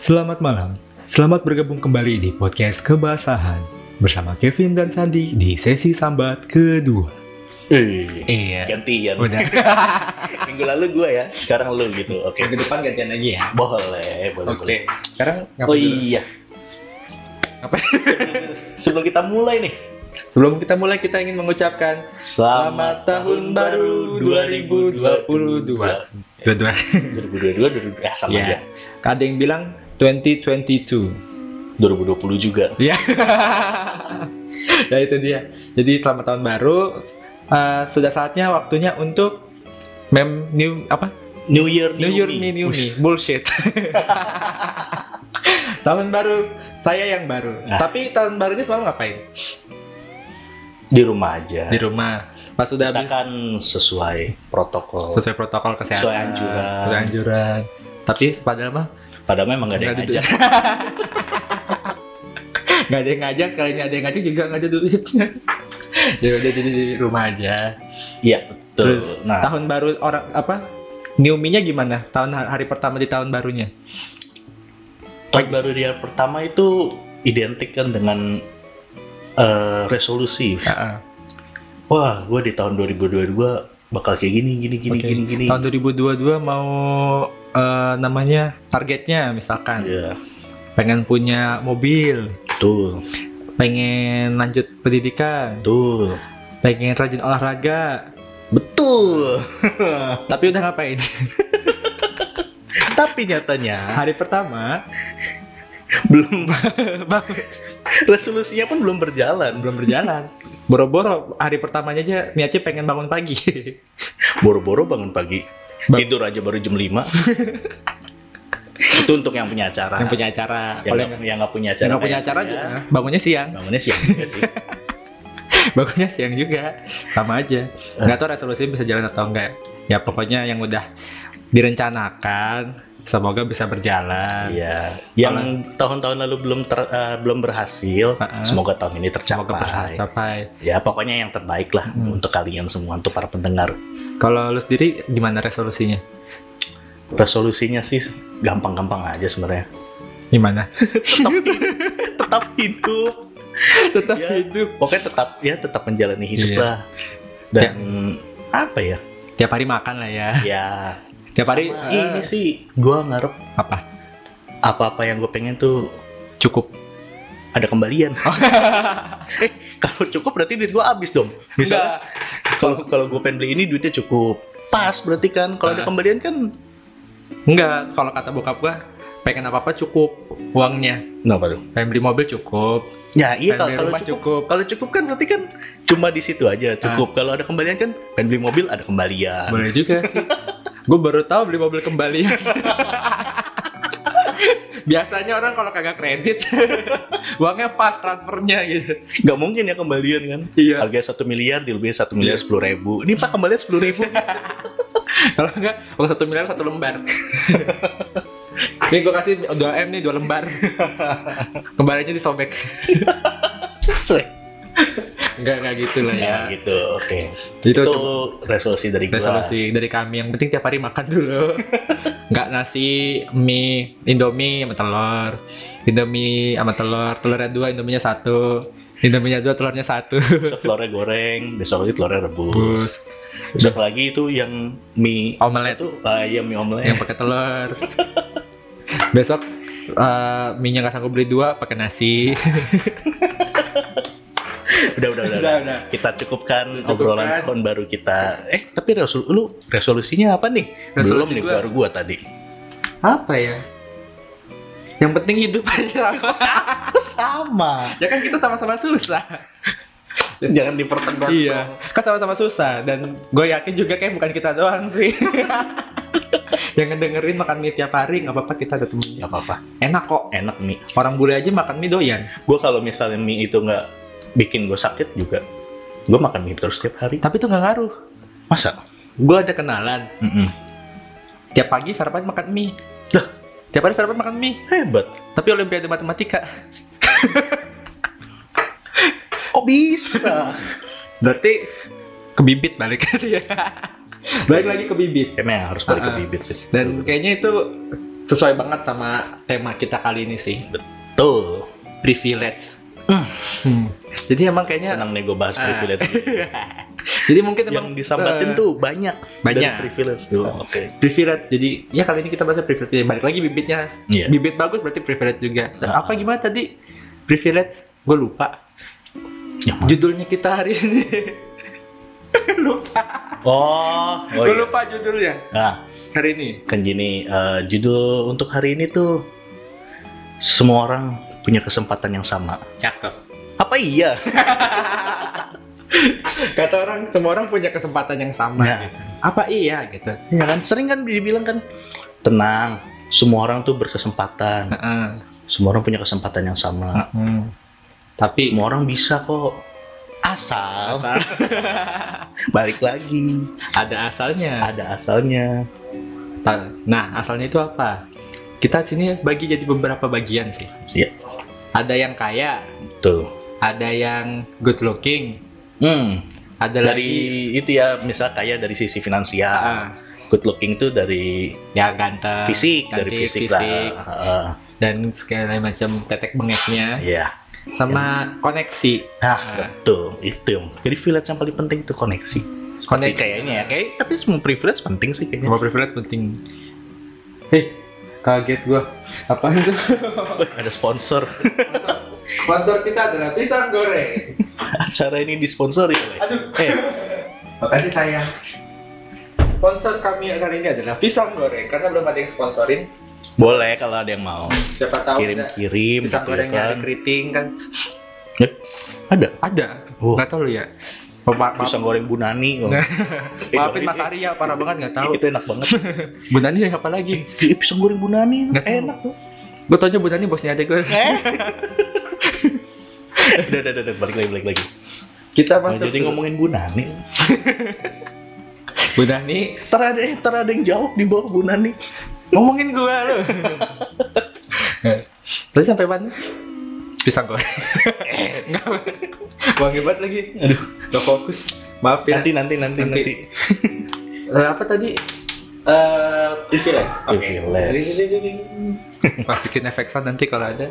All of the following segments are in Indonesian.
Selamat malam. Selamat bergabung kembali di podcast Kebasahan bersama Kevin dan Sandi di sesi sambat kedua. Eh, Iya. gantian. Udah. Minggu lalu gue ya, sekarang lu gitu. Oke. Minggu depan gantian lagi ya. Boleh, boleh, boleh. Oke. Sekarang ngapain Oh dulu? iya. Apa? Sebelum kita mulai nih. Sebelum kita mulai kita ingin mengucapkan Selamat tahun baru 2022. 22. 2022, 2022, eh, sama Ya. Ada yang bilang 2022. aja. 2020 juga. Ya. ya itu dia. Jadi selamat tahun baru. Eh, sudah saatnya waktunya untuk mem new apa? New Year, New Year me new me. Bullshit. tahun baru saya yang baru. Ah. Tapi tahun baru ini selalu ngapain? Di rumah aja. Di rumah. Pas sudah Kita habis kan sesuai protokol. sesuai protokol kesehatan. Sesuai anjuran. Sesuai anjuran. Tapi padahal mah Padahal memang gak ada nggak yang ada ngajak. nggak ada yang ngajak, sekali ada yang ngajak juga nggak ada duitnya. ya udah jadi di rumah aja. Iya, betul. Terus, nah, tahun baru orang apa Niuminya gimana tahun hari pertama di tahun barunya tahun baru dia pertama itu identik kan dengan eh, resolusi. Ya. Wah, gue di tahun 2022 bakal kayak gini, gini, gini, Oke. gini, gini. tahun 2022 mau eh, namanya targetnya misalkan Iya, pengen punya mobil betul, pengen lanjut pendidikan betul, pengen rajin olahraga betul. tapi udah ngapain Tapi nyatanya hari pertama belum bang resolusinya pun belum berjalan. belum berjalan boro-boro hari pertamanya aja niatnya pengen bangun pagi Boro-boro bangun pagi, Bang- tidur aja baru jam 5 Itu untuk yang punya acara. yang punya acara Yang oleh nggak- yang nggak punya Nah, ya, acara. yang ya. nggak punya kayak acara saya, aja ya. bangunnya siang Bangunnya siang juga sih. Bangunnya siang juga, sama aja. Nggak tahu resolusi bisa jalan atau enggak. Ya pokoknya yang udah direncanakan, semoga bisa berjalan. Iya. Yang tahun-tahun lalu belum ter- eh, belum berhasil, Heeh. semoga tahun ini tercapai. Semoga tercapai. Ya pokoknya yang terbaik lah Hmm. untuk kalian semua, untuk para pendengar. Kalau lu sendiri gimana resolusinya? Resolusinya sih gampang-gampang aja sebenarnya. Gimana? Tetap, tetap hidup. Tetap Ya. hidup. Pokoknya tetap ya tetap menjalani hidup Iya. lah. Dan apa ya? Tiap hari makan lah ya. Ya. Tiap hari sama Iya. eh, ini sih gua ngarep apa? apa-apa yang gue pengen tuh Cukup. ada kembalian. eh, kalau cukup berarti duit gua habis dong. Misalnya Nggak. kalau kalau gue pengen beli ini duitnya cukup. Pas berarti kan kalau ada Ah. kembalian kan Enggak, kalau kata bokap gua pengen apa-apa cukup uangnya. Kenapa tuh? Pengen beli mobil cukup, Ya pengen iya kalau beli kalau rumah Ah. cukup cukup. Kalau cukup kan berarti kan cuma di situ aja cukup. Kalau ada kembalian kan pengen beli mobil ada kembalian. Boleh juga sih. gue baru tahu beli mobil kembali. Biasanya orang kalau kagak kredit, uangnya pas transfernya gitu. Gak mungkin ya kembalian kan. Iya. Harganya satu miliar dilebihin satu miliar sepuluh ribu. Ini pak kembalian sepuluh ribu. Kalau enggak, uang satu miliar satu lembar. Nih gue kasih 2 M nih dua lembar. Kembaliannya disobek. Enggak enggak gitu lah ya. Nah, gitu. Oke. Itu Itu cuma resolusi dari gua. resolusi dari kami. Yang penting tiap hari makan dulu. Enggak nasi, mie, indomie sama telur. Indomie sama telur. Telurnya dua, indominya satu. Indominya dua, telurnya satu. Besok telurnya goreng, besok lagi telurnya rebus. Terus Besok lagi itu yang mie omelet itu ah, iya mie yang omelet. pakai telur. Besok eh mie nya nggak sanggup beli dua pakai nasi. Udah udah udah. udah. Kita cukupkan Cukupkan. obrolan tahun baru kita. Eh, tapi resol lu resolusinya apa nih? Resolusi Belum nih gua- baru gua tadi. Apa ya? Yang penting hidup aja. Ah, Sama. ya kan kita sama-sama susah. Jangan dipertegas. Iya, kan sama-sama susah dan gue yakin juga kayak bukan kita doang sih. yang ngedengerin makan mie tiap hari nggak apa-apa kita ada temennya. Gak apa-apa. Enak kok. Enak mie. Orang bule aja makan mie doyan. Gue kalau misalnya mie itu nggak bikin gue sakit juga, gue makan mie terus tiap hari. Tapi itu nggak ngaruh. Masa? Gue ada kenalan. Mm-mm. Tiap pagi sarapan makan mie. Loh, tiap hari sarapan makan mie. Hebat. Tapi olimpiade matematika. Oh bisa. Berarti ke bibit balik sih ya. balik lagi ke bibit. Emang harus balik ke Ah, ah. bibit sih. Dan kayaknya itu sesuai banget sama tema kita kali ini sih Tuh, privilege Hmm. jadi emang kayaknya senang nih gue bahas Ah. privilege. jadi mungkin emang yang eh, disambatin tuh banyak. banyak. Dari privilege tuh. Oke. privilege jadi ya kali ini kita bahas privilege ya, balik lagi bibitnya Iya. bibit bagus berarti privilege juga Ah. apa gimana tadi privilege gue lupa Yang mana? judulnya kita hari ini lupa Oh, oh gue iya. lupa judulnya Nah, hari ini kan gini eh, judul untuk hari ini tuh semua orang punya kesempatan yang sama. cakep Apa iya? kata orang semua orang punya kesempatan yang sama Nah, apa iya gitu ya kan sering kan dibilang kan tenang, semua orang tuh berkesempatan, semua orang punya kesempatan yang sama, tapi semua orang bisa kok asal asal- balik lagi ada asalnya ada asalnya Ah. Ta- nah asalnya itu apa kita sini bagi jadi beberapa bagian sih Iya. ada yang kaya tuh ada yang good looking hmm, ada lagi dari itu ya misal kaya dari sisi finansial Ah, good looking tuh dari ya ganteng fisik dari cantik, fisik, fisik. lah Heeh, dan segala macam tetek bengeknya iya sama koneksi Nah, betul. Itu yang privilege yang paling penting itu koneksi. Seperti Koneksi. kayaknya ya, kayak tapi semua privilege penting sih kayaknya. Semua privilege penting. Hei, kaget gua. Apa itu? Wah, ada sponsor. Sponsor kita adalah pisang goreng. Acara ini disponsori oleh. Aduh. Eh, Makasih sayang. Sponsor kami kali ini adalah pisang goreng karena belum ada yang sponsorin. boleh kalau ada yang mau Siapa tahu ada kirim-kirim pisang gitu ya gorengnya ada kan. keriting kan? Eh, Ada. Ada. Oh. Nggak tahu lu ya. Oh, ma- ma- Pisang goreng Bunani. Oh. Nah. Eh, maafin itu- Mas Ari ya, parah banget nggak tahu. Itu enak banget. Bu Nani yang apa lagi? Ih, pisang goreng Bunani Nggak tahu. enak tuh. Gue tau aja Bu Nani bosnya aja gue. Eh. udah, udah, udah, udah, balik lagi, balik lagi. Kita Nah, masuk. jadi ngomongin Bunani. Bu Nani Ntar ada, ntar ada yang jawab di bawah Bunani. ngomongin gua lu. Terus sampai mana? Pisang goreng. Enggak. Wangi banget lagi. Aduh. Gak fokus. Maaf ya. Nanti, nanti, nanti, Nanti. nanti. Eh, apa tadi? Eh, privilege. Oke. Privilege. Masukin efek sound nanti kalau ada.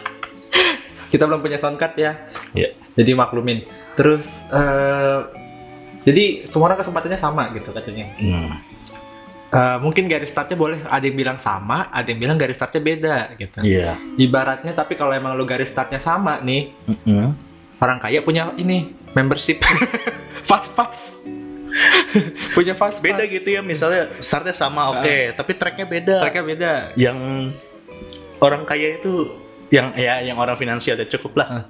Kita belum punya sound card ya. Iya. Jadi maklumin. Terus eh jadi semua orang kesempatannya sama gitu katanya. Hmm. Eh, mungkin garis startnya boleh ada yang bilang sama, ada yang bilang garis startnya beda gitu. Iya. Ibaratnya tapi kalau emang lu garis startnya sama nih, orang kaya punya ini membership fast pass. punya fast Beda pass. gitu ya misalnya startnya sama oke, tapi tracknya beda. Ah. Tracknya beda. Yang orang kaya itu yang ya yang orang finansial ya cukup lah. Hah.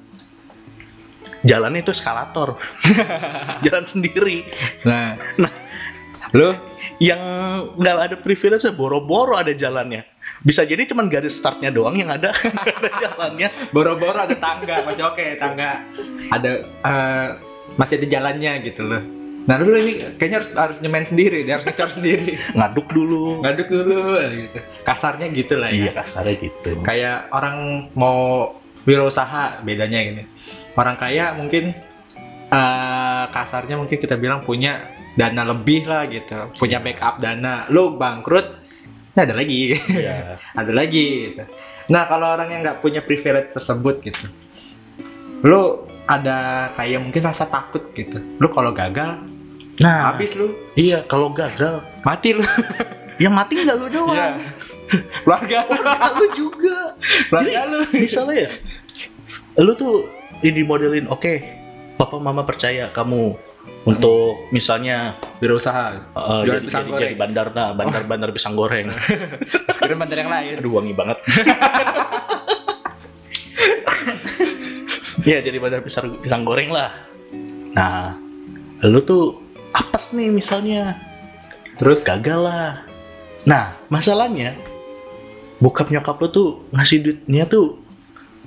Jalannya itu eskalator, jalan sendiri. Nah. Lu Yang nggak ada privilege ya boro-boro ada jalannya. Bisa jadi cuman garis startnya doang yang ada, nggak ada jalannya. boro-boro ada tangga, masih oke tangga. Ada eh, masih ada jalannya gitu loh. Nah, lu ini kayaknya harus harus nyemain sendiri, dia harus ngecor sendiri. Ngaduk dulu. Ngaduk dulu gitu. Kasarnya gitu lah ya. Iya kasarnya gitu. kayak orang mau wirausaha bedanya gini orang kaya mungkin eh, kasarnya mungkin kita bilang punya dana lebih lah gitu punya backup dana lu bangkrut nah ada lagi Iya. ada lagi gitu. nah kalau orang yang nggak punya privilege tersebut gitu lu ada kayak mungkin rasa takut gitu lu kalau gagal Nah, habis lu iya kalau gagal, Iya. mati lu yang mati nggak lu doang. keluarga lu lu juga. keluarga lu misalnya ya lu tuh ini modelin oke papa mama percaya kamu untuk misalnya wirausaha uh, Jualan jadi, pisang jadi, goreng. jadi bandar nah bandar bandar pisang goreng kira mantan yang lain aduh wangi banget ya jadi bandar pisang pisang goreng lah nah lu tuh apes nih misalnya terus gagal lah nah masalahnya bokap nyokap lu tuh ngasih duitnya tuh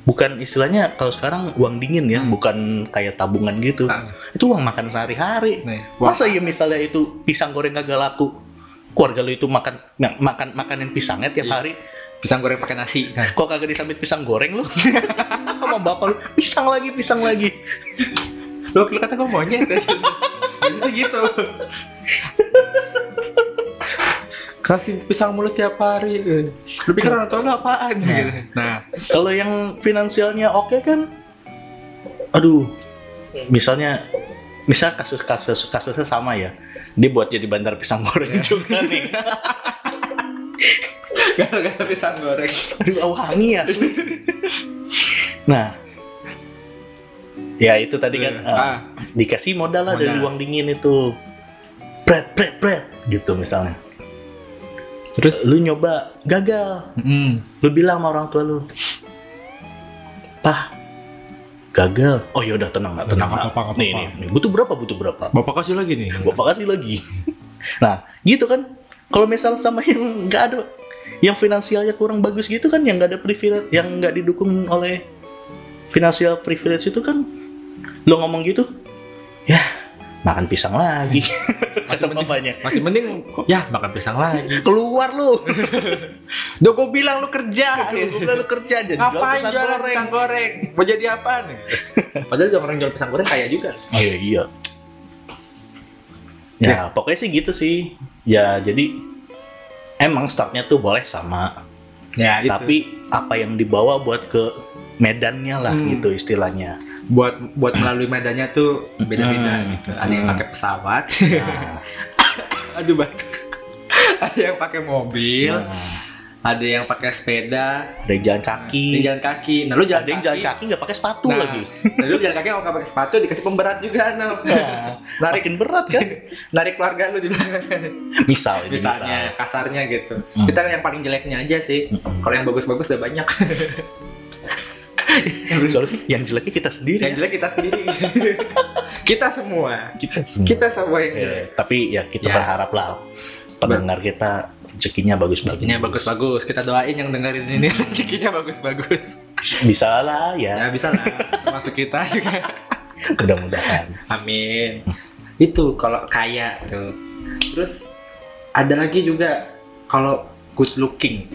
bukan istilahnya kalau sekarang uang dingin ya Hmm. bukan kayak tabungan gitu Ah. itu uang makan sehari-hari nih masa ya misalnya itu pisang goreng kagak laku keluarga lu itu makan nah, makan makanin pisangnya tiap Iya. hari pisang goreng pakai nasi kok kagak disambit pisang goreng lu sama bapak lu pisang lagi pisang lagi lo lu kata gue monyet jadi gitu kasih pisang mulut tiap hari eh. lu pikir orang tua lu apaan Nah. gitu. nah Kalau yang finansialnya oke kan, aduh, misalnya, misal kasus-kasus kasusnya sama ya, dia buat jadi bandar pisang goreng juga nih, gara-gara pisang goreng aduh wangi ya. nah, ya itu tadi kan eh, ah, dikasih modal lah dari Modal. uang dingin itu, pret pret pret gitu misalnya. terus Lu nyoba gagal, mm, lu bilang sama orang tua lu pah gagal oh yaudah tenang nak tenang nak Nggak apa-apa, nggak nih nih apa-apa. nih, butuh berapa butuh berapa bapak kasih lagi nih bapak kasih lagi nah gitu kan kalau misal sama yang nggak ada yang finansialnya kurang bagus gitu kan yang nggak ada privilege yang nggak didukung oleh finansial privilege itu kan lu ngomong gitu ya makan pisang lagi kata mending- bapaknya masih mending ya makan pisang lagi keluar lu udah gue bilang lu kerja Gua bilang lu kerja jadi jual ngapain pisang jualan goreng pisang goreng mau jadi apa nih padahal jual orang jual pisang goreng kaya juga Oh iya iya. Ya, pokoknya sih gitu sih. Ya jadi emang startnya tuh boleh sama, ya tapi tapi apa yang dibawa buat ke medannya lah Hmm. gitu istilahnya. buat buat melalui medannya tuh beda-beda Hmm. gitu ada yang Hmm. pakai pesawat Nah, aduh batuk ada yang pakai mobil nah, ada yang pakai sepeda ada yang ada jalan yang kaki, jalan kaki nah lu jalan ada yang kaki jalan kaki nggak pakai sepatu Nah. lagi. nah, lu jalan kaki kalau nggak pakai sepatu dikasih pemberat juga no. Nah, narik makin berat kan? narik keluarga lu di belakang. Misal, ini misal. misalnya ya, kasarnya gitu Hmm. kita yang paling jeleknya aja sih Mm-mm. kalau yang bagus-bagus udah banyak Soalnya yang jeleknya kita sendiri. yang ya. jelek kita sendiri kita semua Kita semua. kita semua yang jelek Eh, tapi ya kita Iya. Ya. berharap lah pendengar kita rezekinya bagus-bagus. rezekinya bagus-bagus kita doain yang dengerin ini rezekinya bagus-bagus Bisa lah ya. Hmm. ya bisa lah masuk kita juga mudah-mudahan amin itu kalau kaya tuh terus ada lagi juga kalau good looking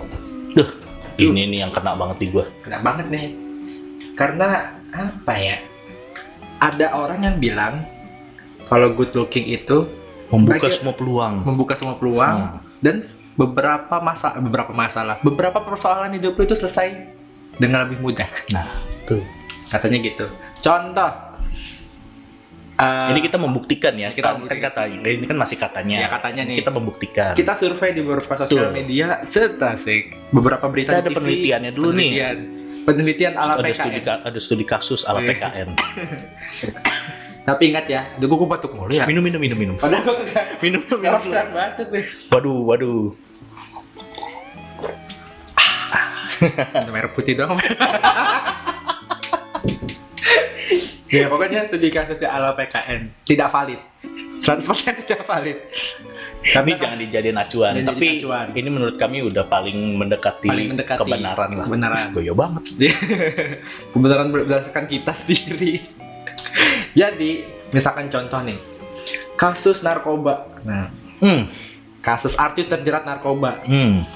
ini nih yang kena banget di gua kena banget nih karena apa ya ada orang yang bilang kalau good looking itu membuka Sebagai- semua peluang membuka semua ya. peluang Nah, dan beberapa masa beberapa masalah beberapa persoalan hidup lu itu selesai dengan lebih mudah Nah, tuh. katanya gitu contoh eh, ini kita membuktikan ya Kita kita kan membuktikan. kata ini kan masih katanya ya katanya nih kita membuktikan kita, kita survei di beberapa sosial Tuh. media setasik beberapa berita ada di TV, penelitiannya dulu nih penelitian, penelitian ala ada studi PKN ka- ada studi kasus ala Iya. PKN tapi ingat ya aduh gue batuk mulu ya minum minum minum minum padahal gue kagak minum minum Kalau dulu. sekarang batuk nih. waduh waduh Minum air putih doang. ya pokoknya studi kasusnya ala PKN tidak valid. 100% tidak valid. ini Kami jangan dijadiin acuan Jangan tapi dijadiin acuan. ini menurut kami udah paling mendekati, Paling mendekati kebenaran lah kebenaran. Ih, goyo banget kebenaran berdasarkan kita sendiri. Jadi, misalkan contoh nih. Kasus narkoba. Nah, hmm. kasus artis terjerat narkoba. hmm.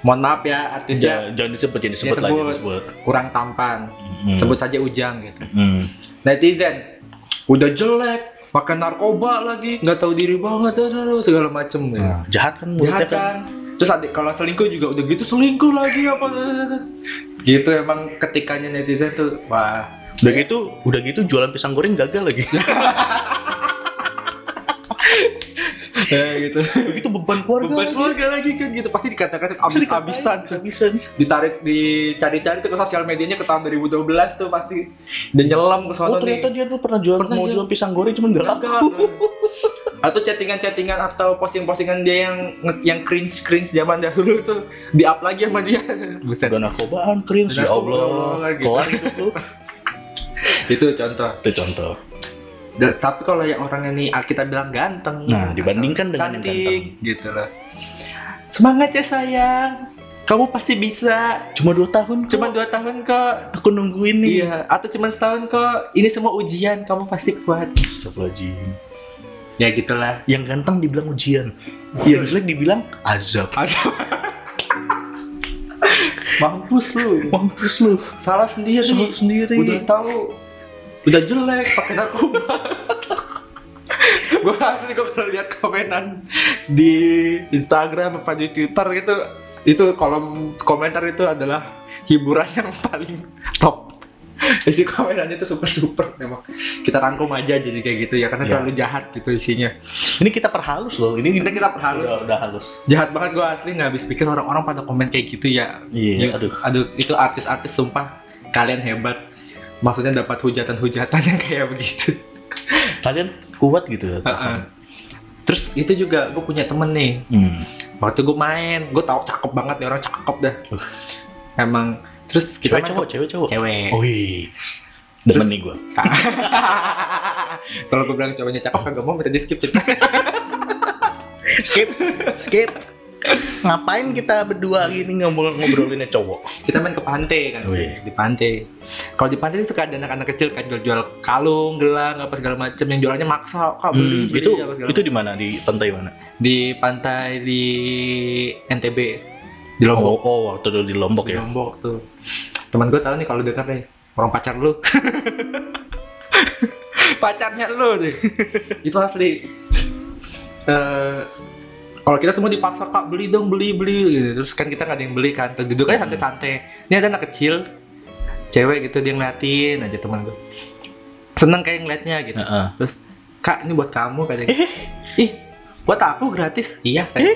Mohon maaf ya, artisnya Ja- jangan disebut jangan disebut lagi Disebut. disebut kurang tampan. Hmm. Sebut saja Ujang gitu. Hmm. netizen udah jelek pakai narkoba lagi nggak tahu diri banget aduh, segala macem ya. Nah, jahat kan mulutnya jahat kan terus adik kalau selingkuh juga udah gitu selingkuh lagi apa gitu emang ketikanya netizen tuh wah Udah gitu, udah gitu jualan pisang goreng gagal lagi. Iya. eh, gitu Udah gitu beban keluarga. beban keluarga lagi kan gitu pasti dikata-kata abis-abisan tuh. Abisan. ditarik dicari-cari tuh ke sosial medianya ke tahun 2012 tuh pasti dan nyelam ke Oh, sono nih. ternyata dia tuh pernah jualan Pernah Iya. mau jual- jualan pisang goreng cuman gak laku. Gagal. atau chattingan-chattingan atau posting-postingan dia yang yang cringe cringe zaman dahulu tuh di up lagi sama dia buset Udah narkobaan cringe Udah ya narkoba, Allah. Allah, gitu. Kelar hidup lu. itu contoh Itu contoh. Dan- tapi kalau yang orang ini ah, kita bilang ganteng Nah, dibandingkan atau dengan yang cantik gitu loh semangat ya sayang kamu pasti bisa Cuma 2 tahun kok. cuma dua tahun kok aku nungguin nih. iya atau cuma setahun kok ini semua ujian kamu pasti kuat Astagfirullahaladzim. ya gitulah Yang ganteng dibilang ujian. Iya. Yang jelek dibilang azab. mampus lu Mampus lu. salah sendiri Salah sendiri. udah tahu udah jelek pakai narkoba gue asli gue kalau lihat komenan di Instagram apa di Twitter gitu itu kolom komentar itu adalah hiburan yang paling top isi komenannya itu super super memang kita rangkum aja jadi kayak gitu ya karena Iya. terlalu jahat gitu isinya Ini kita perhalus loh. Ini Ini kita perhalus. Udah, udah halus. jahat banget gue asli nggak habis pikir orang-orang pada komen kayak gitu ya Iya. Ya, Aduh. aduh itu artis-artis sumpah kalian hebat maksudnya dapat hujatan-hujatan yang kayak begitu Kalian kuat gitu. Heeh. terus itu juga gue punya temen nih Hmm. waktu gue main gue tau cakep banget nih orang cakep dah Uh. emang terus kita Cewek Oh. main cowok, ke- cewek cowok. cewek Wih. Demen Terus- nih gue. kalau gue bilang cowoknya cakep kan gak mau minta di skip cerita Skip, skip. Ngapain kita berdua gini ngobrol ngobrolinnya cowok? kita main ke pantai kan sih, Wih. di pantai kalau di pantai itu suka ada anak-anak kecil kan jual-jual kalung gelang apa segala macem yang jualannya maksa kak beli, beli Hmm, itu apa segala itu di mana? Di pantai mana? di pantai di NTB di Lombok Oh, oh, waktu dulu di Lombok di ya. Lombok tuh teman gue tahu nih kalau dengar nih orang pacar lu pacarnya lu deh itu asli Eh, kalau kita semua dipaksa kak beli dong beli beli gitu. terus kan kita nggak ada yang beli kan duduk aja Hmm. santai-santai ini ada anak kecil cewek gitu dia ngeliatin aja teman gue seneng kayak ngeliatnya gitu Heeh. kak ini buat kamu katanya Eh. ih buat aku gratis iya katanya.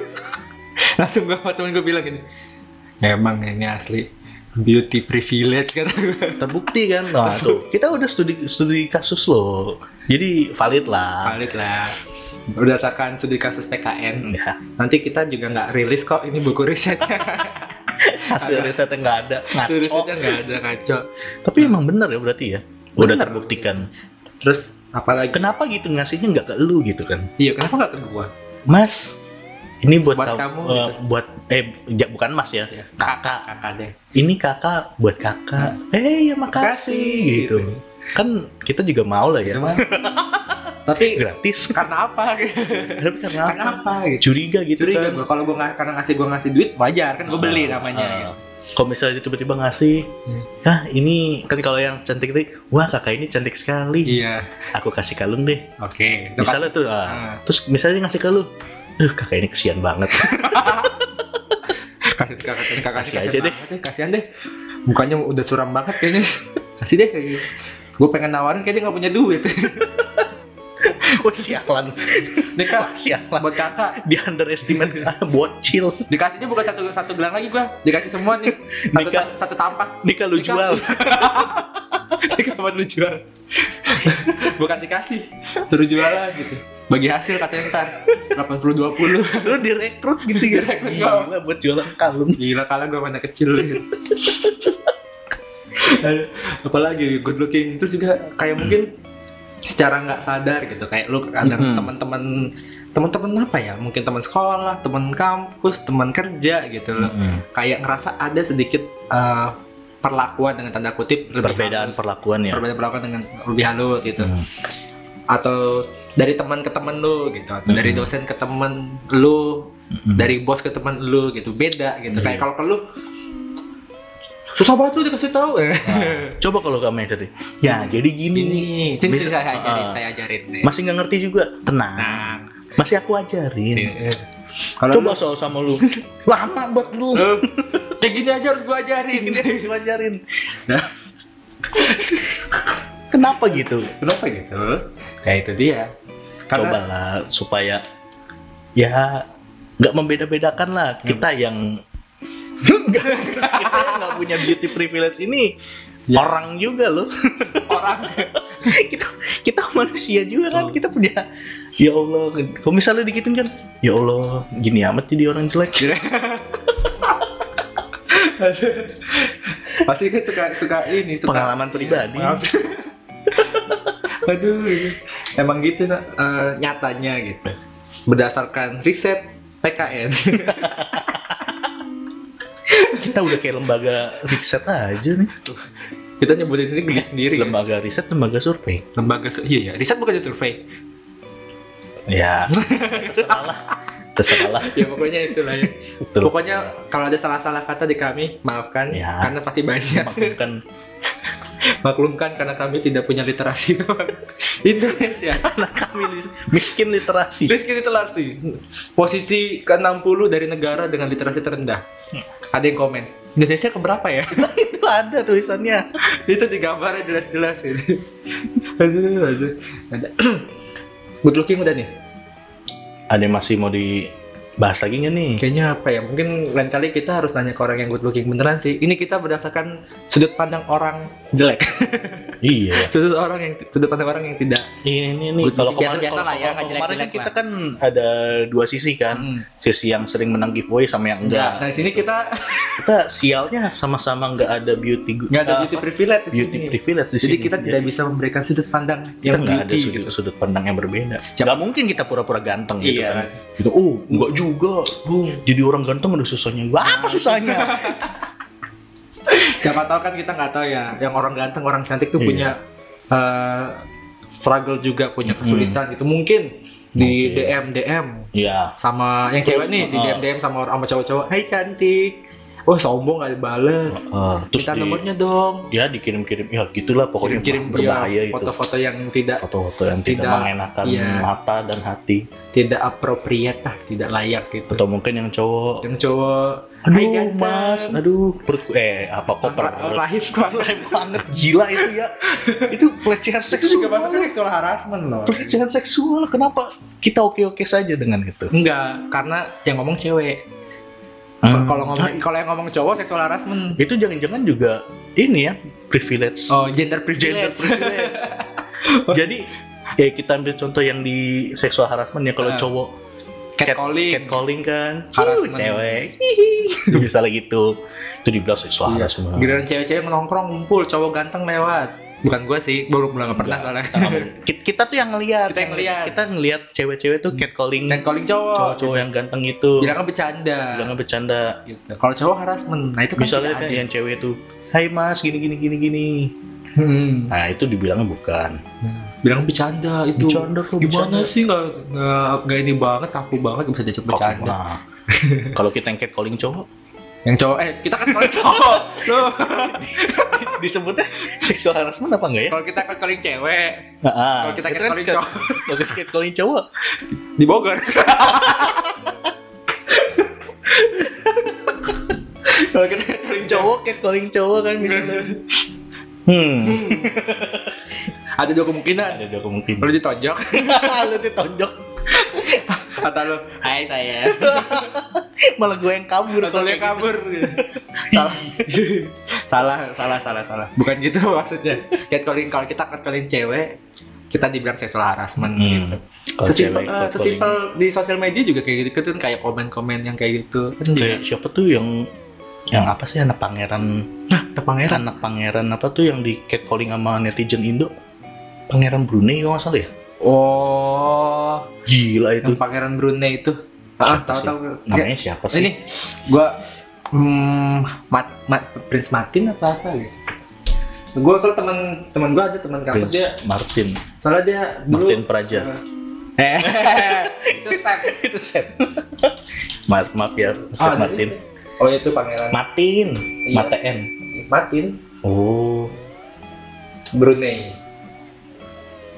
langsung gue sama temen gue bilang gini emang ini asli beauty privilege kata gue Terbukti kan? Nah, tuh. Kita udah studi studi kasus loh. Jadi valid lah. valid lah berdasarkan studi kasus PKN Ya, nanti kita juga nggak rilis kok ini buku risetnya hasil Ada. risetnya nggak ada. Hasil Ngaco. risetnya nggak ada ngaco Tapi emang bener ya berarti ya. Udah Bener. terbuktikan. terus apalagi Kenapa gitu ngasihnya nggak ke lu gitu kan? iya kenapa nggak ke gue Mas, ini buat, Buat kau- kamu, eh, gitu. buat eh ja- bukan Mas ya. Iya. Kakak. kakak deh Ini kakak buat kakak. Eh, ya makasih gitu. Kan kita juga mau lah ya. Gitu, Mas. tapi Gratis. karena apa Tapi karena karena apa apa? gitu Curiga gitu curiga kan. gue kalau gue karena ngasih gue ngasih duit wajar kan gue beli namanya Ah, gitu. Kalau misalnya dia tiba-tiba ngasih, Hmm. Hah ini kan kalau yang cantik itu, wah kakak ini cantik sekali. iya Aku kasih kalung deh. oke Tempat- Misalnya tuh, ah, Ah. terus misalnya dia ngasih ke lu, Duh, kakak ini kesian banget. kasih kakak kakak Kasih aja deh. kasihan deh mukanya udah suram banget kayaknya kasih deh kayak gitu gue pengen nawarin kayaknya nggak punya duit Wah sialan, nih kak sialan. buat kakak Di underestimate ah, bocil. dikasihnya bukan satu satu gelang lagi gue dikasih semua nih satu, Nikah. satu tampak Nikah lu Nikah. jual. kapan lu jual bukan dikasih suruh jualan gitu bagi hasil katanya ntar 80 20 lu direkrut gitu ya. Direkrut, Gila, buat jualan kalung. Gila kalah gue mana kecil lu. Apalagi good looking terus juga kayak mungkin secara nggak sadar gitu kayak lu ada Mm-mm. teman-teman teman-teman apa ya mungkin teman sekolah teman kampus teman kerja gitu loh Mm-hmm. kayak ngerasa ada sedikit eh, perlakuan dengan tanda kutip lebih Perbedaan halus. perlakuan ya. perbedaan perlakuan dengan lebih halus gitu Hmm. atau dari teman ke teman lu gitu atau dari Mm-mm. dosen ke teman lu Hmm. dari bos ke teman lu gitu beda gitu Iya. kayak kalau ke lu susah banget lu dikasih tahu eh Ah, coba kalau kamu yang tadi. Ya, jadi gini nih. ini sini sini Bisa- saya ajarin Ah. saya ajarin nih. Masih nggak ngerti juga. Tenang. nah Iya. Masih aku ajarin. sini. kalau Iya. Coba soal sama lu. Lama buat lu. lu, eh, kayak gini aja harus gua ajarin Gini harus gua ajarin. Nah. Kenapa gitu? kenapa gitu ya itu dia karena Cobalah supaya ya nggak membeda-bedakan lah Hmm. kita yang kita yang nggak punya beauty privilege ini Ya. orang juga loh orang kita kita manusia juga kan kita punya ya Allah kalau misalnya dikitin kan ya Allah gini amat jadi orang jelek pasti kan suka suka ini suka Pengalaman pribadi. Pengalaman- aduh emang gitu Nak. Eh, nyatanya gitu berdasarkan riset PKN kita udah kayak lembaga riset aja nih kita nyebutin ini geli sendiri ya. lembaga riset lembaga survei lembaga su- iya ya riset bukan survei ya terserah lah terserah lah ya pokoknya itulah ya Betul. pokoknya kalau ada salah-salah kata di kami maafkan Ya. karena pasti banyak Maklumkan. Maklumkan karena kami tidak punya literasi ya. Indonesia. Anak kami lis- miskin literasi. Miskin literasi. Posisi ke-60 dari negara dengan literasi terendah. Ada yang komen. Indonesia keberapa ya? Itu ada tulisannya. itu digambarnya jelas-jelas ini. aduh, aduh. Ada. Good looking udah nih. Ada yang masih mau dibahas lagi nggak nih? Kayaknya apa ya? Mungkin lain kali kita harus tanya ke orang yang good looking beneran sih. Ini kita berdasarkan sudut pandang orang jelek. Iya. Sudut orang yang sudut pandang orang yang tidak. Ini ini, ini. Good kalau looking. kemarin Biasa- biasa kalau- lah ya, nggak kalau kemarin kan jelek-jelek kita kan ada dua sisi kan. Mm. Sisi yang sering menang giveaway sama yang Enggak. enggak. Nah, di sini kita Kita sialnya sama-sama nggak ada beauty gu- nggak ada apa, beauty privilege di beauty sini. privilege di Jadi sini. kita tidak bisa memberikan sudut pandang kita yang nggak ada beauty sudut, gitu. sudut pandang yang berbeda. Siapa- Nggak mungkin kita pura-pura ganteng gitu Iya. kan. Gitu, oh nggak juga. Jadi orang ganteng ada susahnya. Wah, apa susahnya? Siapa tahu kan kita nggak tahu ya, yang orang ganteng, orang cantik tuh Iya. punya eh, struggle juga, punya kesulitan gitu. Mungkin di Hmm. DM Mungkin. DM Iya. sama yang cewek nih di Ah. DM DM sama sama cowok-cowok, "Hai cantik." Wah, sombong nggak dibales. Heeh. Eh, terus Minta di, nomornya dong. ya dikirim-kirim ya gitulah pokoknya gitu. Kirim-kirim iya, berbahaya dia itu. foto-foto yang tidak Foto-foto yang tidak, Tidak, mengenakan iya. mata dan hati. tidak appropriate lah, tidak layak gitu. Atau mungkin yang cowok Yang cowok, "Hai, Aduh ganteng." mas, aduh perutku eh apa kok Ra- perut rahim gua. banget gila itu ya itu pelecehan Itu juga masuk seksual seksual harassment loh. pelecehan seksual kenapa kita oke oke saja dengan itu Enggak, karena yang ngomong cewek. Ah. Kalau ngomong kalau yang ngomong cowok seksual harassment. itu jangan-jangan juga ini ya privilege Oh, gender gender privilege. privilege jadi ya kita ambil contoh yang di seksual harassment ya kalau Ah. cowok Catcalling. catcalling kan Harassment. Harassment. cewek hihi misalnya gitu itu dibilang seksual Iya. harassment Giliran cewek-cewek nongkrong ngumpul, cowok ganteng lewat. Bukan gue sih, baru belum nggak pernah soalnya. kita, kita tuh yang ngeliat kan. Kita yang ngeliat. Hmm. kita ngeliat cewek-cewek tuh catcalling Catcalling cowok. cowok-cowok yang ganteng itu Bilangnya bercanda. bilangnya bercanda Gitu. Kalau cowok harassment, nah itu kan misalnya tidak kan ada. yang cewek tuh hai mas gini gini gini gini Hmm. nah itu dibilangnya bukan Bilang bercanda itu. bercanda kok Gimana bercanda sih nggak nggak- nggak ini banget, kaku banget bisa diajak bercanda. Nah, kalau kita yang catcalling cowok Yang cowok, eh kita kan kalau cowok, loh. disebutnya seksual harassment apa enggak ya? Kalau kita catcalling cewek, Nah, kalau kita itu catcalling kan- cowok kalau kita catcalling cowok di Bogor. kalau kita catcalling cowok, gitu cowok catcalling cowok kan misalnya. hmm ada dua kemungkinan. ada dua Lu kemungkinan ditonjok lu ditonjok atau lu, "Hai saya." malah gue yang kabur Atau dia kabur. salah. salah, salah, salah, salah. Bukan gitu maksudnya. Catcalling kalau kita catcalling cewek, kita dibilang seksual harassment Hmm. gitu. Kalau Sesimpel, cewek eh, catcalling. sesimpel di sosial media juga kayak gitu kan kayak komen-komen yang kayak gitu. Kan juga Kayak siapa tuh yang yang apa sih anak pangeran ke pangeran. Nah, anak pangeran apa tuh yang di catcalling sama netizen Indo pangeran Brunei kalau nggak salah ya Oh, gila itu yang pangeran Brunei itu. Ah, Siapa tahu sih? tahu. Ya, namanya siapa sih Ini gua hmm, Mat, Mat- Prince Martin apa apa gitu. Gue soal teman teman gue ada teman kampus Prince dia Martin soalnya dia dulu Martin Praja Eh, itu step. itu set maaf maaf ya set Ah, Martin jadi- Oh itu pangeran Martin Iya. Martin Martin oh Brunei.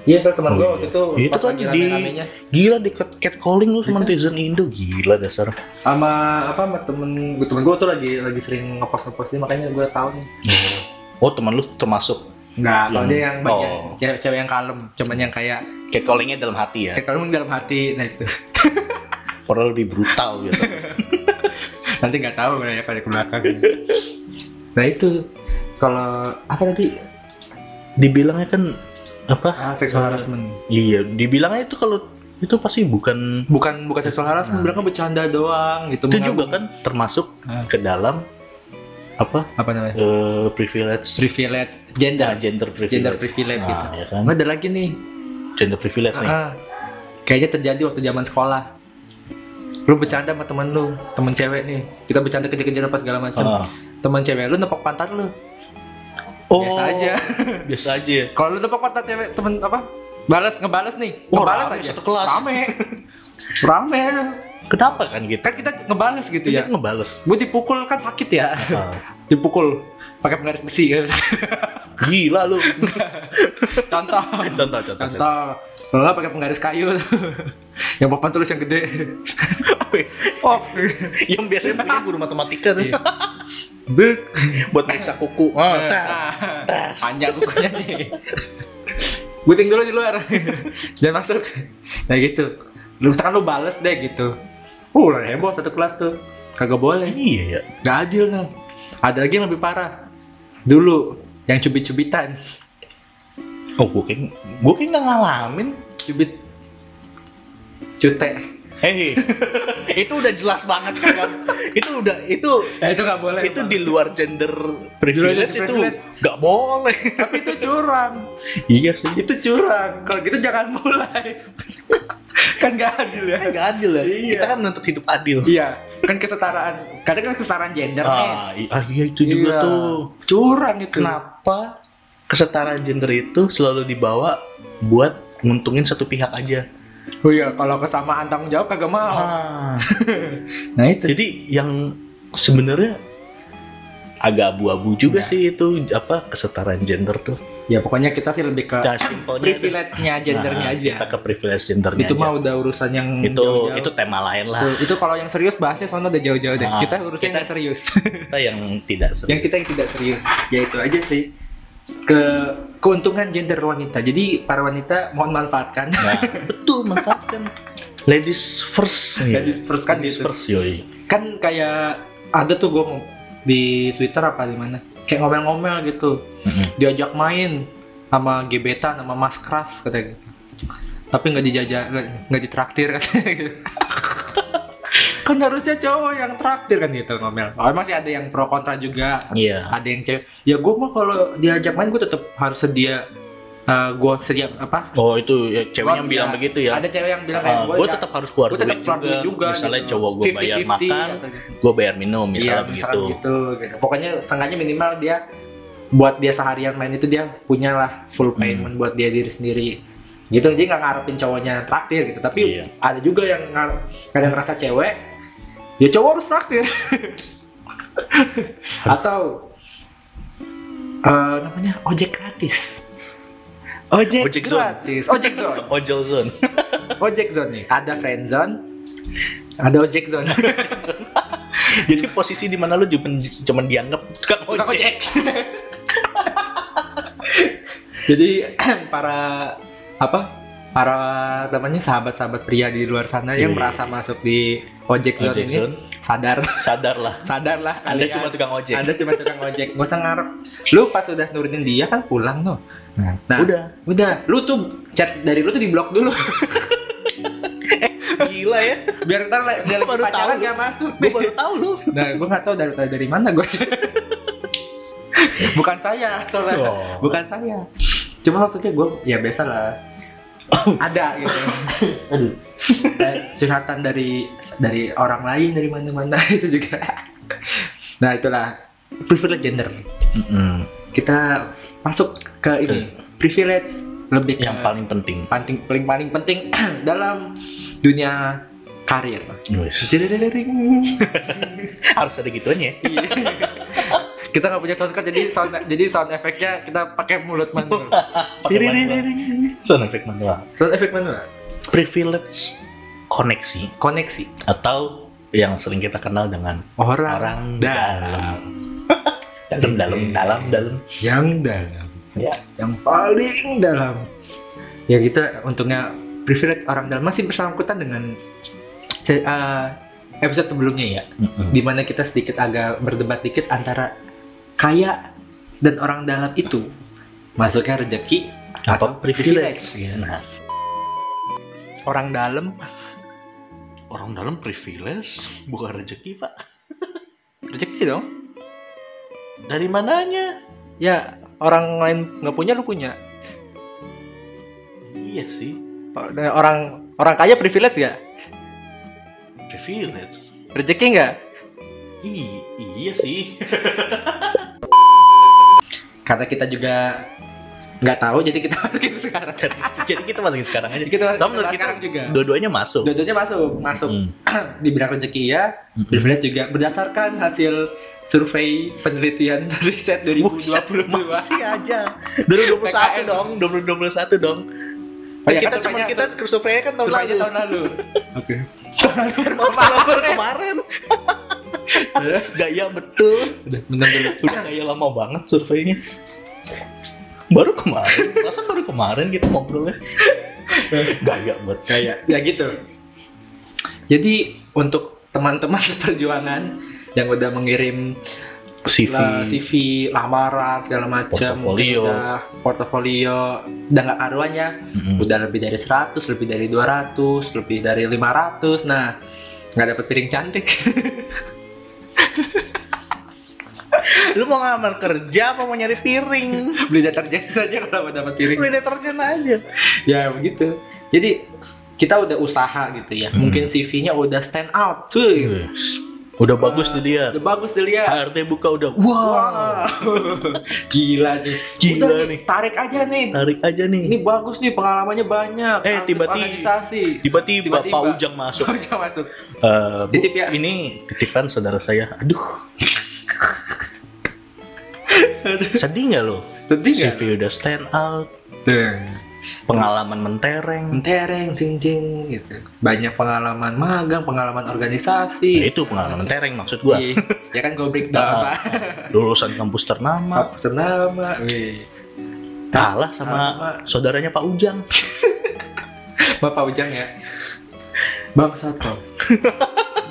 Iya, soal teman Oh, gue iya. waktu itu Itu pas kan lagi di- rame-ramenya gila di cat- catcalling lu Iya. sama netizen Indo gila dasar sama apa sama temen gue temen gue tuh lagi lagi sering ngepost ngepost dia makanya gue tahu nih oh teman lu termasuk Enggak, kalau Yang- dia yang banyak oh. cewek, cewek yang kalem, cuman yang kayak catcallingnya dalam hati ya kayak kalem dalam hati, nah itu. padahal lebih brutal biasanya Nanti nggak tahu ya pada ke belakang. nah itu kalau apa tadi? dibilangnya kan apa Ah, seksual harassment. Iya, dibilangnya itu kalau itu pasti bukan Bukan bukan seksual harassment, Nah. bilangnya bercanda doang gitu. itu Mengaku- juga kan termasuk Ah. ke dalam apa apa namanya? eh, privilege Privilege nah, gender. gender privilege. Gender privilege gitu. Nah, ya kan? Nah, ada lagi nih. Gender privilege nih. Ah, kayaknya terjadi waktu zaman sekolah. Lu bercanda sama temen lu, temen cewek nih. Kita bercanda kejar-kejaran apa segala macam. Ah. Temen cewek lu nepok pantat lu. Oh, Biasa aja. biasa aja. Kalau lu tepok mata cewek temen apa? Balas ngebalas nih, Wah, ngebalas Oh, rame aja. satu kelas. Rame. Rame. Kenapa kan gitu? Kan kita ngebalas gitu Dia ya. ngebales. Gue dipukul kan sakit ya. Ah. kan. Dipukul pakai penggaris besi. nggak bisa. Gila lu. Contoh. contoh, contoh, contoh. Contoh. Kalau nggak pakai penggaris kayu. yang papan tulis yang gede. oh, yang biasanya punya guru matematika tuh. Iya. Bek. Buat periksa kuku. Oh, tes, Ah, tes. Panjang kukunya nih. Guting dulu di luar. Jangan masuk. Nah gitu. Lu misalkan lu bales deh gitu. Uh, udah heboh satu kelas tuh. Kagak boleh. Iya ya. Gak adil nah. Ada lagi yang lebih parah. Dulu yang cubit-cubitan. Oh, gue kayak gue kayak nggak ngalamin. Cubit cute. Hei, itu udah jelas banget kagak. itu udah Eh, itu Nah, itu gak boleh. itu di luar gender gender privilege itu privilege. nggak boleh. tapi itu curang. Iya sih. Itu curang. Kalau gitu jangan mulai. kan gak adil ya. Nggak adil ya. Iya. Kita kan menuntut hidup adil. Iya, kan kesetaraan. Kadang kan kesetaraan gender nih. Ah, i- ah, iya itu juga Iya. tuh. Curang itu. Kenapa kesetaraan gender itu selalu dibawa buat nguntungin satu pihak aja? Oh iya, kalau kesamaan tanggung jawab kagak mau. Ah. Nah itu. Jadi yang sebenarnya agak abu-abu juga Iya. sih itu apa kesetaraan gender tuh. Ya pokoknya kita sih lebih ke Nah, simpelnya privilege-nya gendernya Nah, aja. Kita ke privilege gendernya Itu aja. mah udah urusan yang itu jauh-jauh. itu tema lain lah. Itu- itu kalau yang serius bahasnya soalnya udah jauh-jauh deh. Ah, kita urusan kita- yang serius. Kita yang tidak serius. yang kita yang tidak serius. Ya itu aja sih. Ke keuntungan gender wanita. Jadi para wanita mohon manfaatkan. Nah, betul manfaatkan ladies first. Iya. Jadi first kan ladies gitu. first yoi. kan kayak ada tuh gue di Twitter apa di mana kayak ngomel-ngomel gitu Mm-mm. diajak main sama gebetan sama mas keras katanya gitu. tapi nggak dijajah nggak- nggak ditraktir katanya gitu. kan harusnya cowok yang traktir kan gitu ngomel oh, masih ada yang pro kontra juga Iya. ada yang cewek ya gue mah kalau diajak main gue tetap harus sedia eh gue sedia apa Oh itu ya, ceweknya Gua- bilang ya, begitu ya. ada cewek yang bilang "Eh, Ah, kayak gue tetap harus keluar gue duit tetap juga. keluar duit juga Misalnya gitu. cowok gue bayar 50-50 makan, katanya. gue bayar minum misalnya Iya, begitu. gitu, gitu. Pokoknya seenggaknya minimal dia buat dia seharian main itu dia punya lah Hmm. full payment buat dia diri sendiri. Gitu jadi nggak ngarepin cowoknya traktir gitu. Tapi Iya. ada juga yang ngar kadang ngerasa cewek ya cowok harus traktir. Atau eh, namanya ojek gratis. Ojek, Ojek zone. gratis, ojek zone, Ojol zone. ojek zone nih. Ada friend zone, ada ojek zone. Jadi posisi di mana lu cuman cuman dianggap tukang Tukang ojek. Jadi para apa? Para namanya sahabat-sahabat pria di luar sana yang Iya. merasa masuk di ojek zone Ojek ini zone. sadar, Iya, Sadarlah. sadarlah Anda kalian. cuma tukang ojek. Anda cuma tukang ojek, gak usah ngarep. Lu pas udah nurunin dia kan pulang tuh. Nah, Nah. udah. Udah, lu tuh chat dari lu tuh di blok dulu. Gila ya. Biar ntar la- dia Gua lagi baru pacaran tahu. gak masuk. Gue baru tahu lu. Nah, gue gak tahu dari dari mana gue. Bukan saya, soalnya. Oh. bukan saya cuma maksudnya gue ya biasa lah ada gitu Aduh. dan curhatan dari dari orang lain dari mana-mana itu juga nah itulah privilege gender Mm-mm. kita masuk ke ini privilege lebih ke Hmm. Yang paling penting. paling paling paling penting dalam dunia karir Wes. Harus ada ya. gituannya. Iya. kita nggak punya sound card jadi sound jadi sound efeknya kita pakai mulut manual Pakai manual. Sound effect manual. sound efek manual Privilege koneksi koneksi atau yang sering kita kenal dengan orang, orang dalam. dalam dalam dalam dalam yang dalam Ya. yang paling dalam ya kita untungnya privilege orang dalam masih bersangkutan dengan se- eh, episode sebelumnya ya di mana kita sedikit agak berdebat dikit antara kaya dan orang dalam itu masuknya rezeki apa atau privilege nah orang dalam orang dalam privilege bukan rezeki pak rezeki dong dari mananya ya orang lain nggak punya lu punya iya sih orang orang kaya privilege ya privilege rezeki nggak I- iya sih karena kita juga nggak tahu jadi kita masukin sekarang jadi, jadi kita masukin sekarang aja jadi kita masukin Sama menurut kita, sekarang juga dua-duanya masuk dua-duanya masuk masuk Mm. di bidang rezeki ya Mm-mm. privilege juga berdasarkan hasil survei penelitian riset 2022 Hmm. masih aja 2021 PKN. dong 2021 dong Oh iya, kita kan cuma surveinya- kita surveinya kan tahun lalu surveinya tahun lalu oke kemarin kemarin gaya betul udah bentar dulu udah gaya lama banget surveinya baru kemarin masa baru kemarin kita ngobrolnya iya, gaya banget kayak ya gitu jadi untuk teman-teman perjuangan yang udah mengirim CV lah, CV, lamaran segala macam, Portofolio. mungkin udah portofolio, udah nggak karuannya, Mm-mm. udah lebih dari 100, lebih dari 200, lebih dari 500, nah nggak dapet piring cantik. lu mau ngelamar kerja apa mau nyari piring Beli deterjen aja kalau mau dapet piring. beli deterjen aja ya begitu. Jadi s- kita udah usaha gitu ya. Hmm. Mungkin CV-nya udah stand out, cuy. udah Iya. bagus tuh dia Udah bagus dilihat. HRT buka udah wow Gila nih. Gila Udah nih. Tarik aja nih. tarik aja nih Ini bagus nih pengalamannya banyak. Eh, Aktif tiba-tiba- organisasi. tiba-tiba Tiba-tiba. Pak Ujang masuk Coba Oh, masuk. Eh, Bu, Titip ya. ini titipan saudara saya aduh sedih nggak lo Sedih nggak? CV udah stand out pengalaman mentereng Mentereng, cincin gitu. Banyak pengalaman magang, pengalaman ya organisasi. itu pengalaman mentereng maksud gua Iya, ya kan gue breakdown Ah. pak. lulusan kampus ternama Apa senama? Wih. kalah sama saudaranya Pak Ujang Bapak Ujang ya. Bang Soto.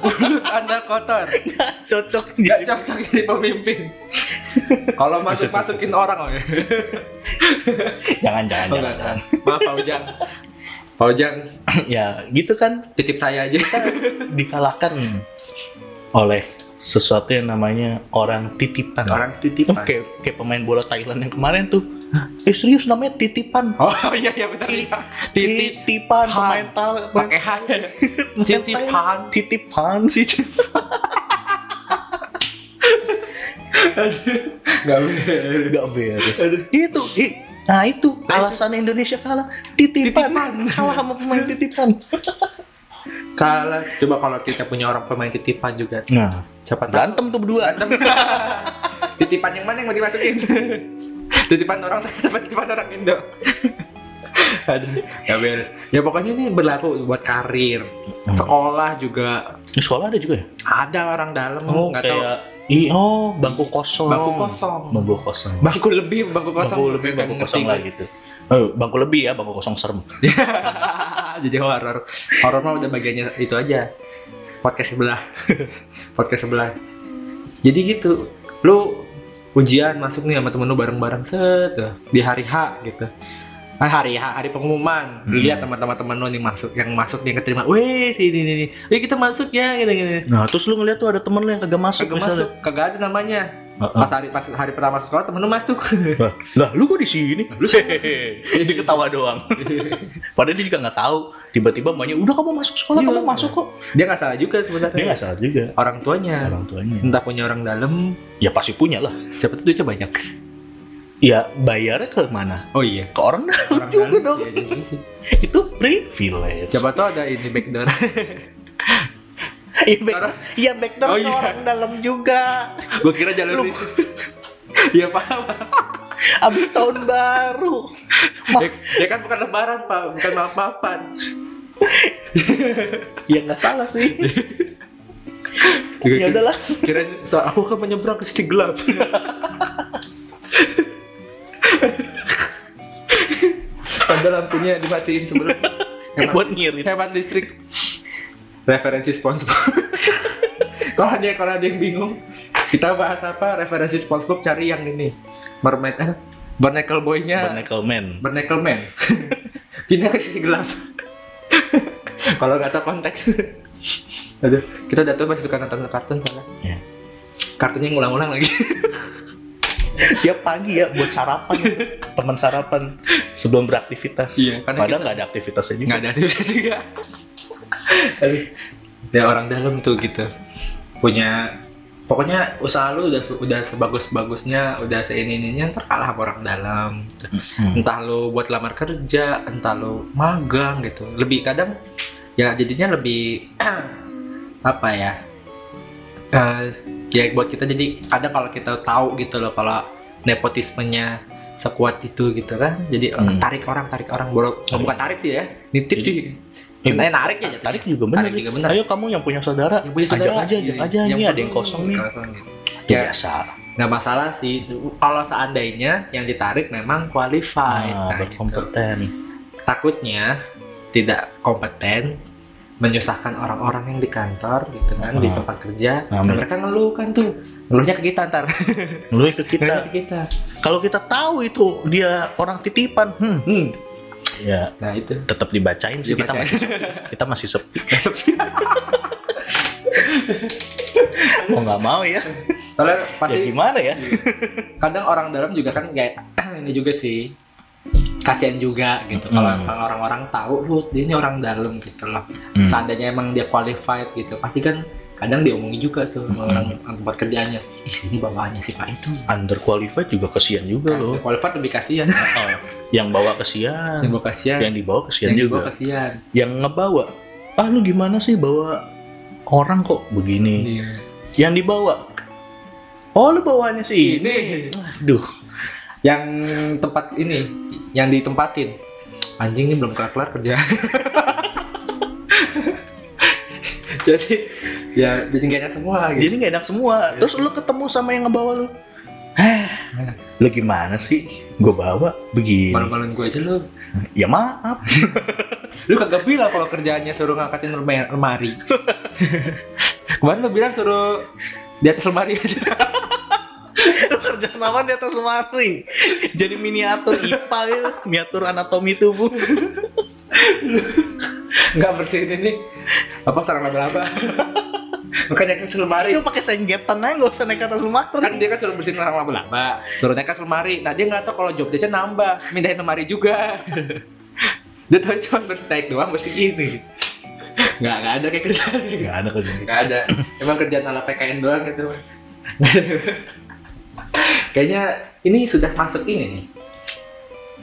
Mulut Anda kotor. Iya. cocok Gak cocok jadi pemimpin. Iya, Kalau masuk masukin orang loh. ya. jangan jangan Oh, jangan, enggak, enggak. Maaf Pak Ujang. Pak Ujang, ya gitu kan titip saya aja. dikalahkan oleh sesuatu yang namanya orang titipan Orang titipan. kayak, kayak pemain bola Thailand yang kemarin tuh Hah, eh serius namanya titipan Oh iya iya benar. iya. Titit titipan pemain Thailand pakai hanya. Titipan. titipan sih Enggak benar. nggak beres itu i- nah itu alasan Indonesia kalah titipan, kalah sama pemain titipan Kalah. Coba kalau kita punya orang pemain titipan juga. nah Siapa tahu? berantem tuh berdua Berantem. titipan yang mana yang mau dimasukin? titipan orang dapat titipan orang Indo. Aduh, nggak beres. Ya pokoknya ini berlaku buat karir, Hmm. sekolah juga Di sekolah ada juga ya ada orang dalam nggak tahu Oh, kayak i oh bangku kosong bangku kosong, bangku kosong bangku lebih, bangku kosong, bangku lebih Nggak bangku ngerti kosong gue. lah gitu Oh, bangku lebih ya, bangku kosong serem. Jadi horor, horor mah udah bagiannya itu aja. Podcast sebelah, podcast sebelah. Jadi gitu, lu ujian masuk nih sama temen lu bareng-bareng set tuh, di hari H gitu. Ah, hari H, hari pengumuman. Lu Hmm. Lihat teman-teman lu yang masuk, yang masuk yang keterima. Weh, sini nih nih. Weh, kita masuk ya gitu gitu. Nah, terus lu ngeliat tuh ada temen lu yang kagak masuk. Oh. Kagak masuk, kagak ada namanya. Heeh. Pas hari pas hari pertama sekolah temen lu masuk. Lah, ah. lah, lu kok di sini? Lu Jadi ketawa doang. Padahal dia juga nggak tahu. Tiba-tiba emaknya, udah kamu masuk sekolah, Iya. kamu masuk kok. Dia nggak salah juga sebenarnya. Dia nggak salah juga. Orang tuanya. Orang tuanya. Entah punya orang dalam, Ya pasti punya lah. siapa tuh duitnya banyak. Ya bayarnya ke mana? Oh iya. Ke orang dalam Orang juga dalam, dong. iya, iya, iya. Itu privilege. Siapa tahu ada ini backdoor. Iya back, ya, backdoor Oh, ke iya. orang dalam juga. Gue kira jalur Lu- itu. Iya paham. Abis tahun baru. Ya, ya kan bukan lebaran pak, bukan maaf maafan. Ya nggak salah sih. ya Kira- udahlah. Kira soal aku kan menyeberang ke sini gelap. Padahal lampunya dimatiin sebelum. Hemat, Buat ngirit. hemat listrik. Referensi SpongeBob. kalau ada kalau ada yang bingung, kita bahas apa? Referensi SpongeBob cari yang ini. Mermaid, eh, Barnacle Boy-nya. Barnacle Man. Bernacle Man. Pindah ke sisi gelap. Kalau nggak tahu konteks. Aduh, kita udah tua masih suka nonton kartun soalnya. Iya. Kartunya yang ngulang-ulang lagi. Tiap pagi ya buat sarapan. Teman sarapan sebelum beraktivitas. Iya, karena Padahal nggak ada aktivitasnya juga. Nggak ada aktivitas juga. Aduh. Ya orang dalam tuh gitu. Punya pokoknya usaha lu udah udah sebagus-bagusnya, udah seini-ininya ntar kalah sama orang dalam. entah lo buat lamar kerja, entah lo magang gitu. Lebih kadang ya jadinya lebih apa ya? eh, ya buat kita jadi kadang kalau kita tahu gitu loh kalau nepotismenya sekuat itu gitu kan jadi eh, Hmm. tarik orang tarik orang Bro, Tarik. bukan tarik sih ya nitip Jadi- sih Eh, Eh, narik ya jatuhnya. Tarik juga bener. tarik juga bener Ayo kamu yang punya saudara, Yang punya saudara, ajak aja, ajak iya. aja. Ini ada yang kosong nih. Kosong gitu. Itu Ya. biasa. nggak masalah sih kalau seandainya yang ditarik memang qualified Nah, Nah, gitu. berkompeten. takutnya tidak kompeten menyusahkan orang-orang yang di kantor gitu kan di Ah. tempat kerja Nah, Dan mereka ngeluh kan tuh ngeluhnya ke kita ntar Lu ke ngeluhnya kita. ke kita Kalau kita tahu itu dia orang titipan, hmm, hmm. ya nah itu tetap dibacain sih Dibacain. kita masih kita masih sepi. Mau nggak mau ya. soalnya Ya pasti gimana ya? kadang orang dalam juga kan kayak ini juga sih kasihan juga gitu kalau Mm. kalau orang-orang tahu lu dia ini orang dalam gitu loh Hmm. seandainya emang dia qualified gitu pasti kan kadang diomongin juga tuh sama Mm. orang tempat kerjaannya ih ini bawaannya si pak itu Under qualified juga kesian juga Kan, loh. qualified lebih kasihan Oh, yang bawa kesian, yang bawa kasihan yang dibawa kesian yang juga. dibawa kasihan Yang ngebawa, ah lu gimana sih bawa orang kok begini? Iya. Yang dibawa, oh lu bawaannya sih ini. ini Duh, yang tempat ini yang ditempatin anjing ini belum kelar kelar kerja jadi ya jadi gak enak semua gitu jadi nggak enak semua. Terus lu ketemu sama yang ngebawa lu. Heh, lu gimana sih? Gue bawa malu begini. maluin gue aja lu Ya maaf. lu kagak bilang kalau kerjaannya suruh ngangkatin lemari- lemari kemarin lu bilang suruh di atas lemari aja Lu kerjaan apa di atas lemari? Jadi miniatur IPA gitu. Miniatur anatomi tubuh. nggak bersihin ini apa sarang laba-laba makanya ke lemari Itu pakai senggetan aja nggak usah naik ke atas lemari. kan dia kan suruh bersihin sarang laba-laba suruh nekat lemari nah dia nggak tahu kalau job desknya nambah mindahin lemari juga dia tahu cuma bertaik doang bersihin ini nggak nggak ada kayak kerjaan Nggak ada kerjaan gitu. nggak ada emang kerjaan ala PKN doang gitu kayaknya ini sudah masuk ini nih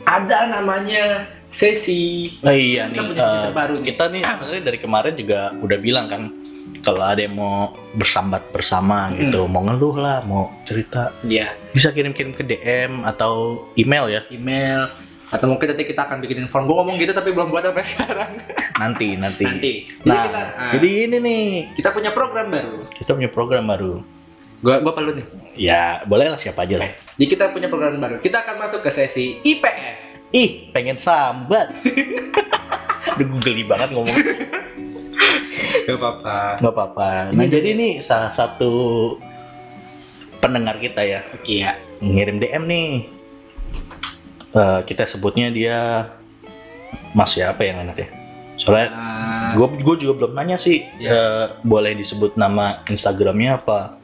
ada namanya sesi Nah, iya Kita nih. punya sisi eh, terbaru nih. Kita nih sebenarnya dari kemarin juga udah bilang kan kalau ada yang mau bersambat bersama Mm. gitu, mau ngeluh lah, mau cerita, dia bisa kirim-kirim ke DM atau email ya. email atau mungkin nanti kita akan bikin form gue ngomong gitu tapi belum buat sampai sekarang Nanti, nanti. nanti jadi, Nah, kita, ah, jadi ini nih kita punya program baru kita punya program baru. gua gua perlu nih Ya, boleh lah siapa aja lah. jadi kita punya program baru kita akan masuk ke sesi IPS Ih, pengen sambat. Aduh, gue geli banget ngomong. gak apa-apa Gak apa-apa. Nah, jadi ini salah satu pendengar kita ya. iya ngirim DM nih. Eh, kita sebutnya dia Mas siapa yang enak ya? Soalnya Ah, gue juga belum nanya sih Iya. eh, boleh disebut nama Instagramnya apa?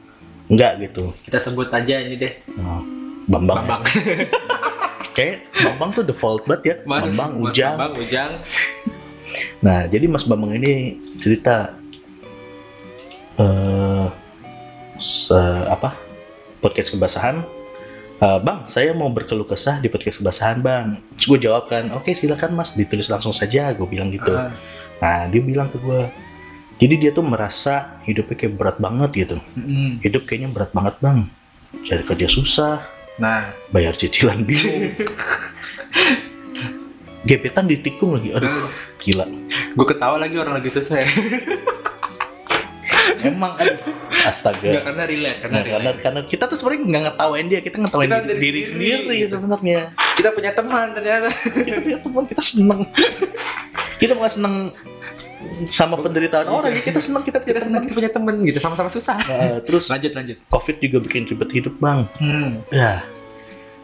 Enggak gitu. kita sebut aja ini deh Nah, Bambang. Bambang ya. Kayak Bambang tuh default banget ya. Mas- Bambang Mas Ujang. Bambang Ujang Nah, jadi Mas Bambang ini cerita eh se- apa? Podcast kebasahan. Eh, bang, saya mau berkeluh kesah di podcast kebasahan, Bang. Terus gue jawab kan, "Oke, silakan Mas, ditulis langsung saja." Gue bilang gitu. Ah, Nah, dia bilang ke gue jadi dia tuh merasa hidupnya kayak berat banget gitu. mm-mm. Hidup kayaknya berat banget, Bang. Cari kerja susah, nah bayar cicilan bingung. Gebetan ditikung lagi. Aduh, gila. gue ketawa lagi orang lagi susah ya Emang aduh. Astaga. nggak karena relate karena Nah, karena, relate karena kita tuh sebenarnya nggak ngetawain dia, kita ngetawain Kita diri, dari diri sendiri, sendiri gitu. sebenarnya. kita punya teman ternyata kita punya teman, kita seneng. kita bukan seneng sama penderitaan Iya. orang, ya. kita seneng kita punya kita teman. senang kita punya teman gitu sama-sama susah Nah, terus lanjut lanjut COVID juga bikin ribet hidup bang. hmm. Ya,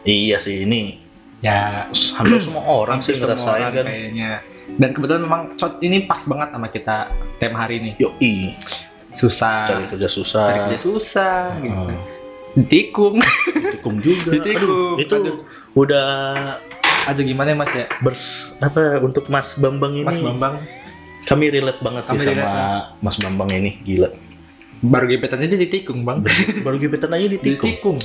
iya sih ini ya hampir semua orang hampir sih semua ngerasain orang kan. kayaknya dan kebetulan memang shot ini pas banget sama kita tema hari ini Yoi, susah cari kerja susah. Ah. cari kerja susah gitu Heeh. ditikung Ditikung juga. Ditikung. Aduh, itu Aduh. udah aduh gimana ya mas ya bers apa untuk Mas Bambang ini. mas Bambang Kami relate banget sih Kami sama relate. Mas Bambang ini, gila. baru gebetannya aja ditikung bang Baru gebetan aja ditikung. ditikung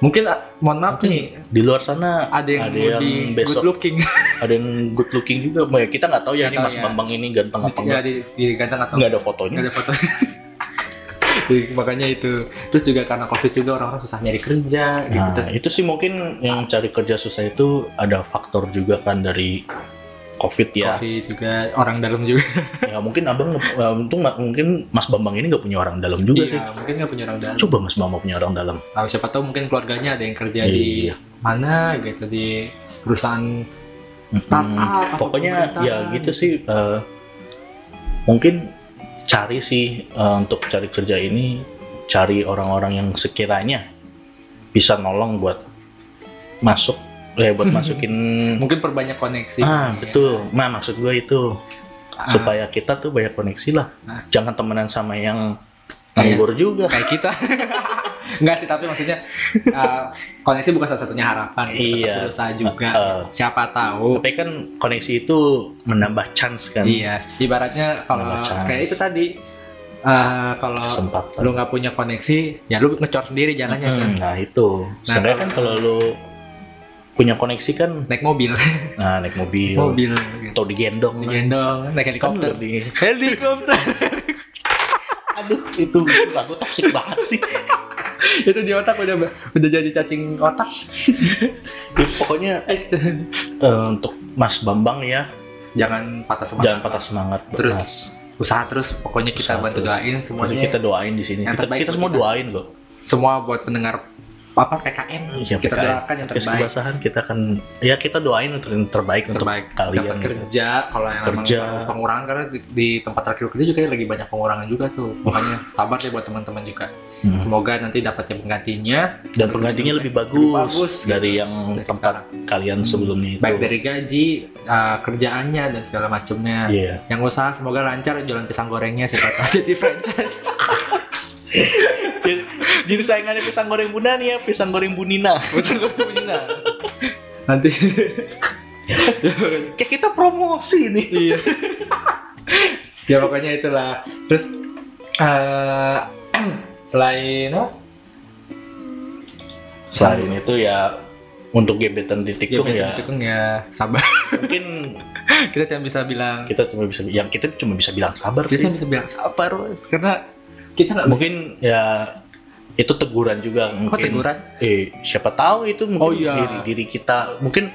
mungkin ah, mohon maaf nih Di luar sana ada yang Ada mau yang di besok good looking ada yang good looking juga, Mau ya, kita nggak tahu ya Iya, Nggak ini tahu Mas ya. Bambang ini ganteng apa ya enggak. di, di ganteng atau Nggak ada nggak fotonya. ada foto Jadi, Iya, makanya itu terus juga karena covid juga orang-orang susah nyari kerja gitu Nah, terus itu sih mungkin yang cari kerja susah itu ada faktor juga kan dari COVID ya. covid juga orang dalam juga ya mungkin abang, ya, untung ma- mungkin Mas Bambang ini nggak punya orang dalam juga iya mungkin nggak punya orang dalam sih. Coba Mas Bambang punya orang dalam. Tahu siapa tahu mungkin keluarganya ada yang kerja di Iya. mana gitu di perusahaan Mm-mm. startup atau Hmm, Pokoknya ya pemerintahan. gitu sih. eh, mungkin cari sih eh, untuk cari kerja ini cari orang-orang yang sekiranya bisa nolong buat masuk, eh buat Hmm. masukin. mungkin perbanyak koneksi ah Ya. betul. Nah maksud gue itu. Ah, supaya kita tuh banyak koneksi lah Nah. jangan temenan sama yang Iya. nganggur juga kayak kita Enggak sih, tapi maksudnya eh, koneksi bukan satu-satunya harapan. Tetap Iya. ah. Berusaha juga. Heeh. Siapa tahu. tapi kan koneksi itu menambah chance kan Oh. Iya. Ibaratnya kalau Nambah chance. kayak itu tadi eh, kalau lu kesempatan nggak punya koneksi, ya lu ngecor sendiri jalannya kan? Mm, nah itu Nah, sebenarnya kan kalau lu punya koneksi kan naik mobil, nah naik mobil, mobil, gitu. atau digendong lah. digendong, naik Kan helikopter, lebih- helikopter aduh itu itu lagu toksik banget sih itu di otak udah udah jadi cacing otak. Ya, pokoknya eh, untuk Mas Bambang ya Jangan patah semangat. jangan patah semangat buat Terus, Mas. Usaha terus, pokoknya kita Usaha bantu terus. doain Pokoknya semuanya. kita doain di sini yang kita, terbaik kita buat semua kita. doain loh semua buat pendengar apa PKN Ya, kita PKN. doakan yang Podcast terbaik kebasahan kita akan ya kita doain untuk yang terbaik, terbaik untuk kalian dapat gitu. kerja kalau yang Kerja. emang pengurangan karena di, di tempat terakhir kerja juga lagi banyak pengurangan juga tuh makanya sabar deh buat teman-teman juga Hmm. semoga nanti dapatnya penggantinya dan penggantinya lebih bagus, bagus, dari gitu. yang Dari tempat kalian Hmm. sebelumnya itu. baik dari gaji uh, kerjaannya dan segala macamnya Iya. yang usaha semoga lancar jualan pisang gorengnya siapa tahu jadi franchise Jadi, jadi sayangannya pisang goreng Bunda nih ya, pisang goreng Bunina. bukan gue punya nanti Kayak kita promosi nih. iya ya pokoknya itulah terus eh selain apa? Selain Iya. itu ya untuk gebetan di ya, tikung ya. ya, ya sabar mungkin kita cuma bisa bilang kita cuma bisa yang kita cuma bisa bilang sabar kita sih. cuma bisa bilang sabar Wes. karena kita nggak bisa Mungkin ya itu teguran juga kok mungkin. Oh, teguran eh siapa tahu itu mungkin Oh, iya. diri diri kita mungkin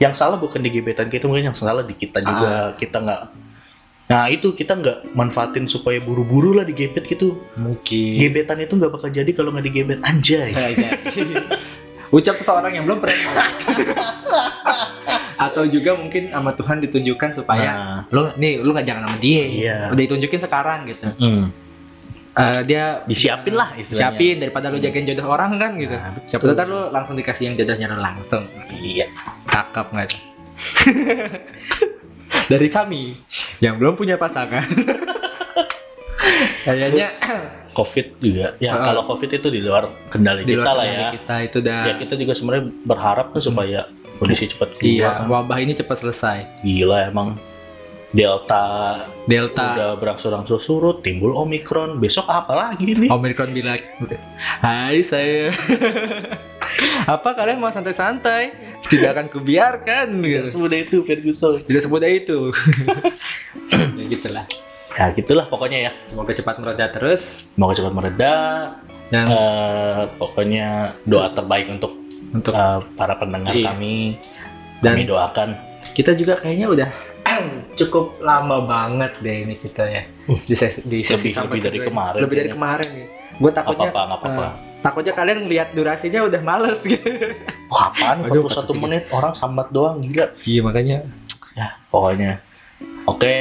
yang salah bukan di gebetan kita mungkin yang salah di Ah. kita juga kita nggak nah itu kita nggak manfaatin supaya buru-buru lah digebet gitu mungkin gebetan itu nggak bakal jadi kalau nggak digebet anjay Iya, Eh, ucap seseorang yang belum pernah atau juga mungkin sama Tuhan ditunjukkan supaya nah lo nih lu nggak jangan sama dia Iya. udah ditunjukin sekarang gitu mm, Eh, dia disiapin lah istilahnya siapin daripada lu jagain jodoh orang kan gitu. Nah, betul. Siapa tahu ntar lu langsung dikasih yang jodohnya lu langsung. iya Cakep nggak tuh? Dari kami yang belum punya pasangan. Kayaknya covid juga ya Heeh. kalau covid itu di luar Ah. kendali di kita luar lah kendali ya kita itu udah ya kita juga sebenarnya berharap tuh supaya kondisi cepat iya, keluar wabah ini cepat selesai. gila emang delta Delta, udah berangsur-angsur surut, timbul omikron, besok apa lagi nih? Omicron bilang, "Hai saya. Apa kalian mau santai-santai? Tidak akan kubiarkan." Ya, Gitu. Sudah itu Ferguson. Tidak semudah itu. ya gitulah. Ya gitulah pokoknya ya. Semoga cepat mereda terus Semoga cepat mereda. dan Eh, pokoknya doa terbaik untuk untuk eh, para pendengar Iya. kami. Dan- kami doakan. kita juga kayaknya udah cukup lama banget deh ini kita ya di sesi, di sesi Lebih- sampai lebih dari kedua ini. kemarin lebih dari kayaknya. kemarin nih gue Apa takutnya apa nggak eh, apa-apa. takutnya kalian ngelihat durasinya udah males gitu Wah, apaan? Aduh, 41 43. menit orang sambat doang gila. iya makanya Pokoknya. Oke,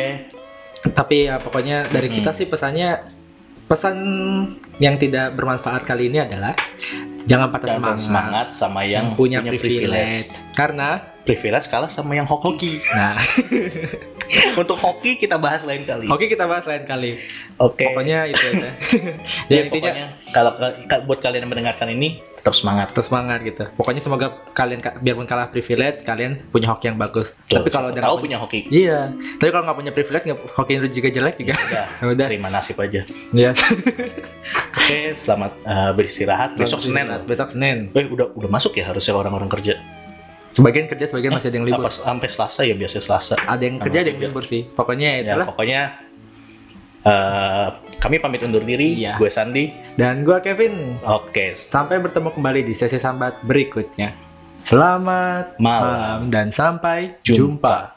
tapi ya pokoknya dari kita Mm. sih pesannya pesan yang tidak bermanfaat kali ini adalah jangan patah jangan semangat, semangat sama yang, punya, privilege. karena privilege. Privilege kalah sama yang hoki. hoki nah Untuk hoki kita bahas lain kali. hoki kita bahas lain kali Oke. pokoknya itu aja ya, Ya, intinya pokoknya kalau ka- buat kalian yang mendengarkan ini tetap semangat. tetap semangat gitu. Pokoknya semoga kalian ka- biarpun kalah privilege, kalian punya hoki yang bagus. Tuh, Tapi kalau siapa udah tahu nggak punya hoki, Iya. Tapi kalau nggak punya privilege, nggak hoki lu juga jelek juga. udah Ya udah. terima nasib aja. Iya. Oke, selamat eh, beristirahat. Besok Senin. Besok Senin. Eh, udah udah masuk ya harusnya orang-orang kerja. Sebagian kerja, sebagian masih ada yang libur. Eh, Apa sampai Selasa ya biasanya Selasa. Ada yang Sama kerja, ada yang juga. libur sih. Pokoknya Ya, itulah. pokoknya Eh, kami pamit undur diri. Iya. Gue Sandi. Dan gua Kevin. Oke. Sampai bertemu kembali di sesi sambat berikutnya. Selamat Malam. malam dan sampai Jumpa. jumpa.